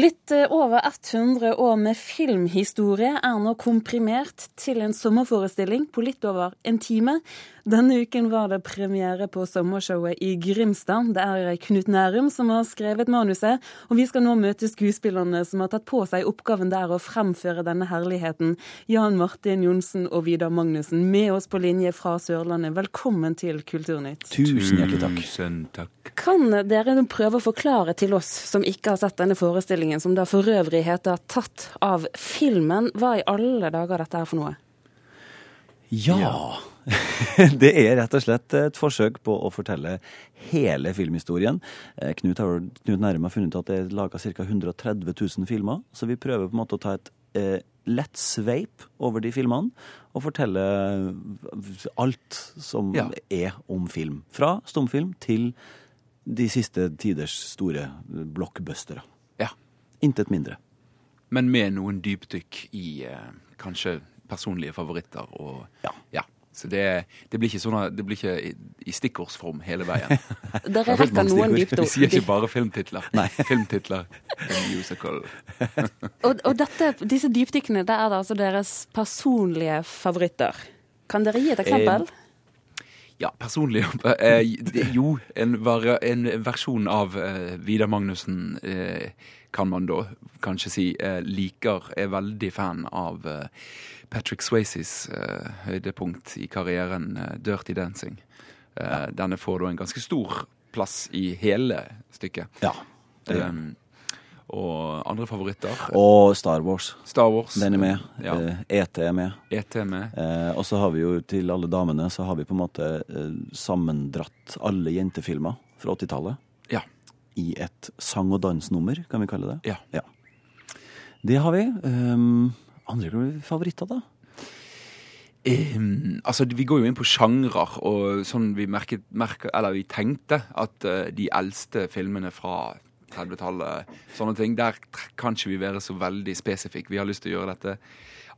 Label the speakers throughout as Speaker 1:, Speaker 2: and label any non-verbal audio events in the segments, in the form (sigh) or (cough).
Speaker 1: Litt eh, over 100 år med filmhistorie er nå komprimert til en sommerforestilling på litt over en time. Denne uken var det premiere på sommershowet i Grimstad. Det er eh, Knut Nærum som har skrevet manuset, og vi skal nå møte skuespillerne som har tatt på seg oppgaven der å fremføre denne herligheten. Jan Martin Johnsen og Vidar Magnussen med oss på linje fra Sørlandet. Velkommen til Kulturnytt.
Speaker 2: Tusen hjertelig takk.
Speaker 3: Tusen takk.
Speaker 1: Kan dere nå prøve å forklare til oss som ikke har sett denne forestillingen, som da for øvrig heter 'Tatt av filmen', hva i alle dager dette er for noe?
Speaker 2: Ja. (laughs) det er rett og slett et forsøk på å fortelle hele filmhistorien. Eh, Knut, har, Knut Nærum har funnet ut at det er laga ca. 130 000 filmer, så vi prøver på en måte å ta et eh, lett sveip over de filmene og fortelle alt som
Speaker 3: Ja.
Speaker 2: er om film. Fra stumfilm til de siste tiders store blockbustere.
Speaker 3: Ja.
Speaker 2: Intet mindre.
Speaker 3: Men med noen dypdykk i eh, kanskje personlige favoritter og
Speaker 2: Ja.
Speaker 3: Så det, det blir ikke sånn at- det blir ikke i, i stikkordsform hele veien.
Speaker 1: Dere
Speaker 2: har fått
Speaker 1: rekker
Speaker 2: mange
Speaker 1: noen
Speaker 2: stikkord.
Speaker 1: dypt
Speaker 3: Vi sier ikke
Speaker 1: opp.
Speaker 3: bare filmtitler. Filmtitler. en Musical.
Speaker 1: Og, og dette, disse dypdykkene, det er da altså deres personlige favoritter. Kan dere gi et eksempel?
Speaker 3: Eh, Ja, personlig eh, det- Jo, en, var, en versjon av eh, Vidar Magnussen eh, kan man da kanskje si eh, liker. Er veldig fan av eh, Patrick Swayzes eh, høydepunkt i karrieren, eh, 'Dirty Dancing'. Eh, Denne får da en ganske stor plass i hele stykket.
Speaker 2: Ja.
Speaker 3: Um, og andre favoritter?
Speaker 2: Og Star Wars.
Speaker 3: Star Wars.
Speaker 2: Den er med.
Speaker 3: Ja.
Speaker 2: Eh, ET er med.
Speaker 3: ET er med.
Speaker 2: Eh, og så har vi jo til alle damene så har vi på en måte eh, sammendratt alle jentefilmer fra 80-tallet
Speaker 3: Ja.
Speaker 2: i et sang- og dansnummer, kan vi kalle det.
Speaker 3: ja.
Speaker 2: Det har vi. Um, andre favoritter, da?
Speaker 3: Ehm, altså, vi går jo inn på sjangerer, og sånn vi merket, merket Eller vi tenkte at eh, de eldste filmene fra 30-tallet, sånne ting, der tr- kan ikke vi være så veldig spesifikke. Vi har lyst til å gjøre dette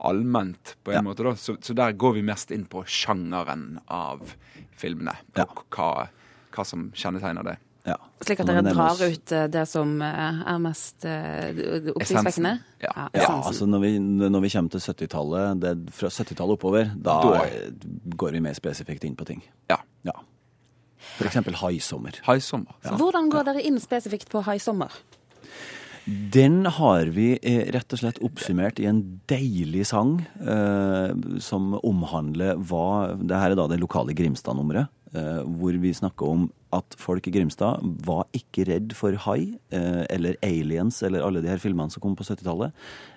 Speaker 3: allment, på en
Speaker 2: Ja.
Speaker 3: måte, da. Så, så der går vi mest inn på sjangeren av filmene,
Speaker 2: Ja.
Speaker 3: og hva, hva som kjennetegner det.
Speaker 2: Ja.
Speaker 1: Slik at
Speaker 2: Nå må
Speaker 1: dere
Speaker 2: vi nærme
Speaker 1: drar
Speaker 2: oss-
Speaker 1: ut eh, det som eh, er mest eh, oppsiktsvekkende?
Speaker 3: Essensen. Ja.
Speaker 2: Ja,
Speaker 1: essensen.
Speaker 2: altså når vi, når vi kommer til 70-tallet, det er fra 70-tallet oppover, da
Speaker 3: Da.
Speaker 2: eh, går vi mer spesifikt inn på ting.
Speaker 3: Ja.
Speaker 2: Ja. For eksempel Haisommer.
Speaker 3: Haisommer. sant?
Speaker 1: Hvordan går dere inn spesifikt på High Sommer?
Speaker 2: Den har vi eh, rett og slett oppsummert i en deilig sang eh, som omhandler hva Det her er da det lokale Grimstad-nummeret, eh, hvor vi snakker om at folk i Grimstad var ikke redd for hai eh, eller aliens eller alle de her filmene som kom på 70-tallet.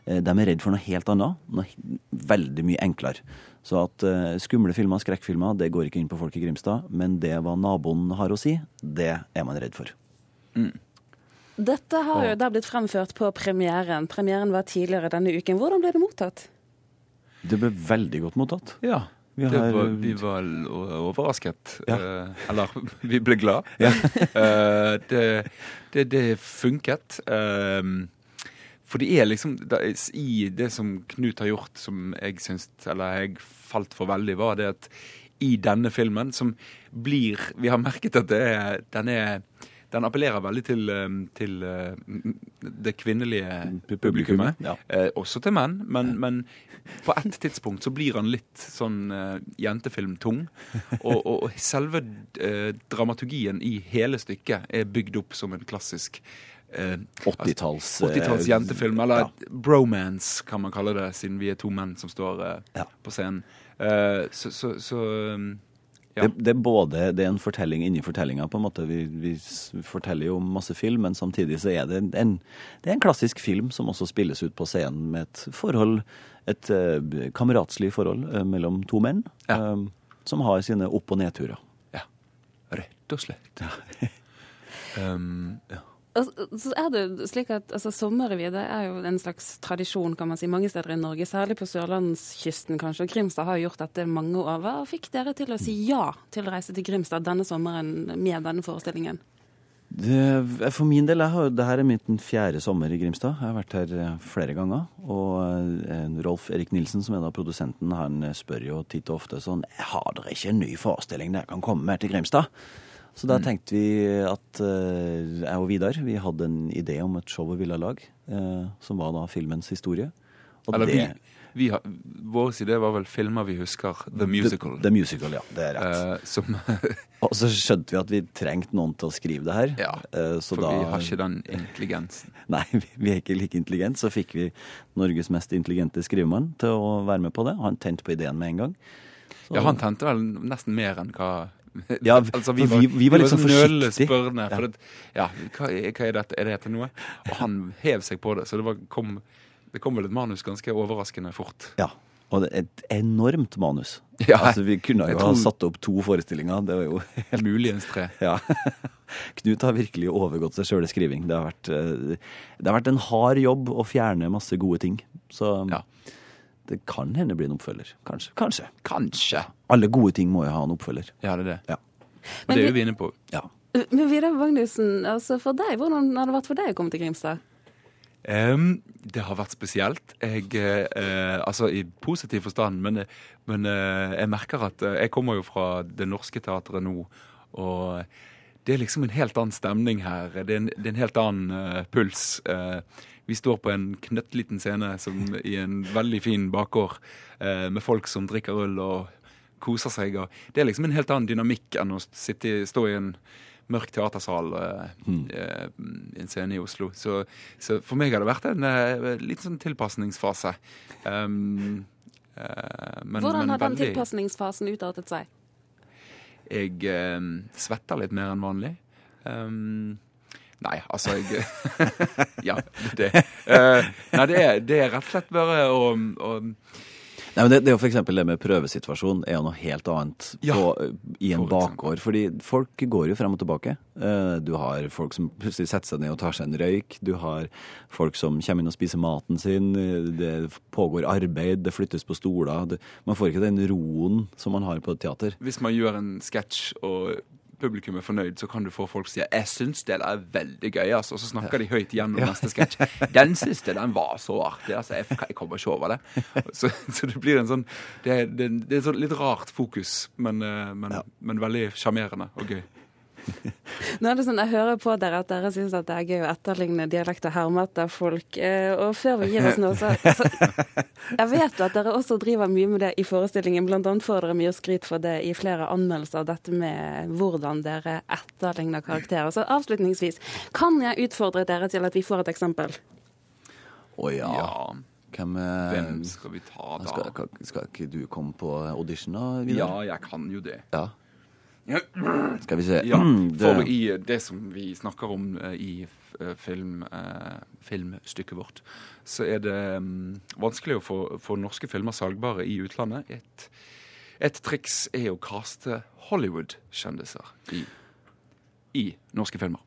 Speaker 2: Eh, de er redd for noe helt annet. Noe he- veldig mye enklere. Så at eh, skumle filmer, skrekkfilmer, det går ikke inn på folk i Grimstad. Men det hva naboen har å si, det er man redd for.
Speaker 1: Dette har jo da blitt fremført på premieren. Premieren var tidligere denne uken. Hvordan ble det mottatt?
Speaker 2: Det ble veldig godt mottatt.
Speaker 3: Ja.
Speaker 2: Vi
Speaker 3: det
Speaker 2: har- eh,
Speaker 3: var, vi var l- o- overrasket.
Speaker 2: Ja.
Speaker 3: Eh, eller (laughs) vi ble glad. (laughs) Eh, det, det, det funket. Eh, for det er liksom det er- I det som Knut har gjort, som jeg syns Eller jeg falt for veldig, var det at i denne filmen, som blir Vi har merket at det er, den er den appellerer veldig til, eh, til eh, det kvinnelige
Speaker 2: Publikummet,
Speaker 3: publikummet.
Speaker 2: ja.
Speaker 3: Eh, også til menn, men, men på et tidspunkt så blir han litt sånn eh, jentefilmtung. Og, og, og selve eh, dramaturgien i hele stykket er bygd opp som en klassisk eh,
Speaker 2: 80-talls, eh,
Speaker 3: 80-talls jentefilm.
Speaker 2: ja.
Speaker 3: Eller bromance, kan man kalle det, siden vi er to menn som står eh,
Speaker 2: Ja.
Speaker 3: på scenen. Eh, så, så, så um, ja.
Speaker 2: Det, det er både det er en fortelling inni fortellinga. på en måte. Vi, vi s- forteller jo masse film, men samtidig så er det en- en, det er en klassisk film som også spilles ut på scenen med et forhold, et eh, b- kameratslig forhold eh, mellom to menn
Speaker 3: Ja.
Speaker 2: eh, som har sine opp- og nedturer.
Speaker 3: ja. Rett og slett. (laughs) Um, ja.
Speaker 1: Og s- Altså, så er det slik at altså, Sommerrevy det er jo en slags tradisjon kan man si, mange steder i Norge, særlig på sørlandskysten kanskje. og Grimstad har jo gjort dette mange år. Hva fikk dere til å si ja til å reise til Grimstad denne sommeren med denne forestillingen?
Speaker 2: Det, for min del, jeg har, det her er min fjerde sommer i Grimstad. Jeg har vært her eh, flere ganger. Og eh, Rolf Erik Nilsen, som er da produsenten, han eh, spør jo titt og ofte sånn Har dere ikke en ny forestilling dere kan komme med til Grimstad? Så
Speaker 3: Mm.
Speaker 2: da tenkte vi at eh, jeg og Vidar vi hadde en idé om et show vi ville lage, eh, som var da filmens historie. Og
Speaker 3: Eller vi,
Speaker 2: det-
Speaker 3: vi har, vår idé var vel filmer vi husker, The Musical.
Speaker 2: The, the musical, ja. Det er rett.
Speaker 3: Eh, som,
Speaker 2: Og så skjønte vi at vi trengte noen til å skrive det her.
Speaker 3: ja,
Speaker 2: Eh, (laughs) så
Speaker 3: for
Speaker 2: da,
Speaker 3: vi har ikke den intelligensen.
Speaker 2: (laughs) Nei, vi, vi er ikke like intelligente. Så fikk vi Norges mest intelligente skrivemann til å være med på det. Han tente på ideen med en gang. Så-
Speaker 3: Ja, han tente vel nesten mer enn hva
Speaker 2: (laughs)
Speaker 3: (laughs)
Speaker 2: Ja, v- for vi- vi var litt
Speaker 3: sånn
Speaker 2: sånn
Speaker 3: nølende
Speaker 2: forsiktig.
Speaker 3: spørrende.
Speaker 2: Ja.
Speaker 3: For det, ja, hva, er- hva er dette? Er det til noe? Og han hev seg på det, så det var, kom, det kom vel et manus ganske overraskende fort.
Speaker 2: Ja. Og det er et enormt manus.
Speaker 3: (laughs) Ja,
Speaker 2: altså, vi kunne jo
Speaker 3: jeg
Speaker 2: ha
Speaker 3: tror-
Speaker 2: satt opp to forestillinger. Det var jo (laughs)
Speaker 3: Muligens tre.
Speaker 2: Ja. (laughs) Knut har virkelig overgått seg sjøl i skriving. Det har, vært, eh, det har vært en hard jobb å fjerne masse gode ting. Så
Speaker 3: Ja.
Speaker 2: det kan hende bli en oppfølger. Kanskje. Kanskje.
Speaker 3: Kanskje.
Speaker 2: Alle gode ting må jo ha en oppfølger.
Speaker 3: Ja, det er det.
Speaker 2: Ja.
Speaker 3: Og
Speaker 1: Men
Speaker 3: det er
Speaker 1: vi-
Speaker 3: jo vi inne på.
Speaker 2: Ja.
Speaker 1: Men Vidar Magnussen, altså for deg, hvordan har det vært for deg å komme til Grimstad?
Speaker 3: Ehm, det har vært spesielt. Jeg, eh, eh, altså i positiv forstand, men, eh, men eh, jeg merker at eh, Jeg kommer jo fra Det Norske Teatret nå, og det er liksom en helt annen stemning her. Det er en, det er en helt annen eh, puls. Eh, vi står på en knøttliten scene som, i en veldig fin bakgård eh, med folk som drikker øl og koser seg. Og det er liksom en helt annen dynamikk enn å sitte, i- stå i en mørk teatersal eh, eh, en scene i Oslo. Så, så for meg har det vært en eh, litt sånn tilpasningsfase. Um, eh, men,
Speaker 1: Hvordan
Speaker 3: men
Speaker 1: har den
Speaker 3: veldig-
Speaker 1: tilpasningsfasen utartet seg?
Speaker 3: Jeg eh, svetter litt mer enn vanlig. Um, nei, altså jeg (laughs) Ja, det eh, Nei, det er, det er rett og slett bare å, å
Speaker 2: Nei, men det, det er jo for eksempel det med prøvesituasjon er jo noe helt annet
Speaker 3: Ja,
Speaker 2: på, i en
Speaker 3: for
Speaker 2: bakgård. Fordi folk går jo frem og tilbake. Eh, Du har folk som plutselig setter seg ned og tar seg en røyk. Du har folk som kommer inn og spiser maten sin. Eh, Det pågår arbeid, det flyttes på stoler. Det, man får ikke den roen som man har på et teater.
Speaker 3: hvis man gjør en sketsj og publikum er fornøyd, så kan du få folk til å si 'jeg syns det er veldig gøy', altså. Og så snakker de høyt gjennom neste sketsj. 'Den siste, den var så artig', altså. Jeg, jeg kommer ikke over det. Så, så det blir en sånn Det, er- det, er- det er et sånn litt rart fokus, men, eh, men, men veldig sjarmerende og gøy.
Speaker 1: Nå er det sånn, Jeg hører på dere at dere syns det er gøy å etterligne dialekt og herme etter folk. eh, Og før vi gir oss nå, så, så Jeg vet jo at dere også driver mye med det i forestillingen. Blant annet får dere mye skryt for det i flere anmeldelser, dette med hvordan dere etterligner karakterer. Så avslutningsvis, kan jeg utfordre dere til at vi får et eksempel?
Speaker 2: Å ja.
Speaker 3: Ja.
Speaker 2: Hvem, eh,
Speaker 3: Hvem skal vi ta da?
Speaker 2: skal, skal, skal ikke du komme på audition da,
Speaker 3: Ja,
Speaker 2: Vidar?
Speaker 3: jeg kan jo det.
Speaker 2: Ja.
Speaker 3: Ja,
Speaker 2: Skal vi se. Mm,
Speaker 3: for
Speaker 2: Det-
Speaker 3: i eh, det som vi snakker om eh, i eh, film, eh, filmstykket vårt, så er det mm, vanskelig å få, få norske filmer salgbare i utlandet. Et, et triks er å kaste Hollywood-kjendiser i, i norske filmer.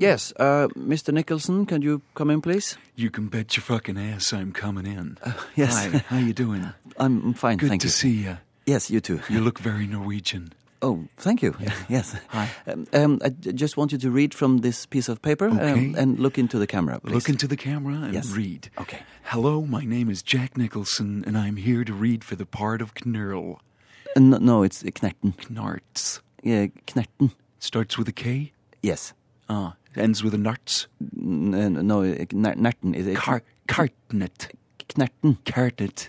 Speaker 2: Yes, uh, Mr. Nicholson, can you come in please?
Speaker 3: You can bet your fucking ass I'm coming in.
Speaker 2: Uh, yes.
Speaker 3: Hi, how you doing?
Speaker 2: I'm fine,
Speaker 3: Good
Speaker 2: thank
Speaker 3: to
Speaker 2: you.
Speaker 3: see you.
Speaker 2: Yes, you too.
Speaker 3: You look very Norwegian.
Speaker 2: Oh, thank you. (laughs) Yes. Hi. Um, um, I j- just want you to read from this piece of paper um,
Speaker 3: Okay.
Speaker 2: and look into the camera, please.
Speaker 3: Look into the camera and
Speaker 2: Yes.
Speaker 3: read.
Speaker 2: Okay.
Speaker 3: Hello, my name is Jack Nicholson, and I'm here to read for the part of Knurl.
Speaker 2: Uh, no, no, it's Knerten.
Speaker 3: Knarts.
Speaker 2: Yeah, Knerten.
Speaker 3: Starts with a K.
Speaker 2: Yes.
Speaker 3: Ah. Ends with a nuts.
Speaker 2: N- n- no, uh, Kner- Knerten. Is it
Speaker 3: Car- cartnet.
Speaker 2: Knerten?
Speaker 3: Cartnet.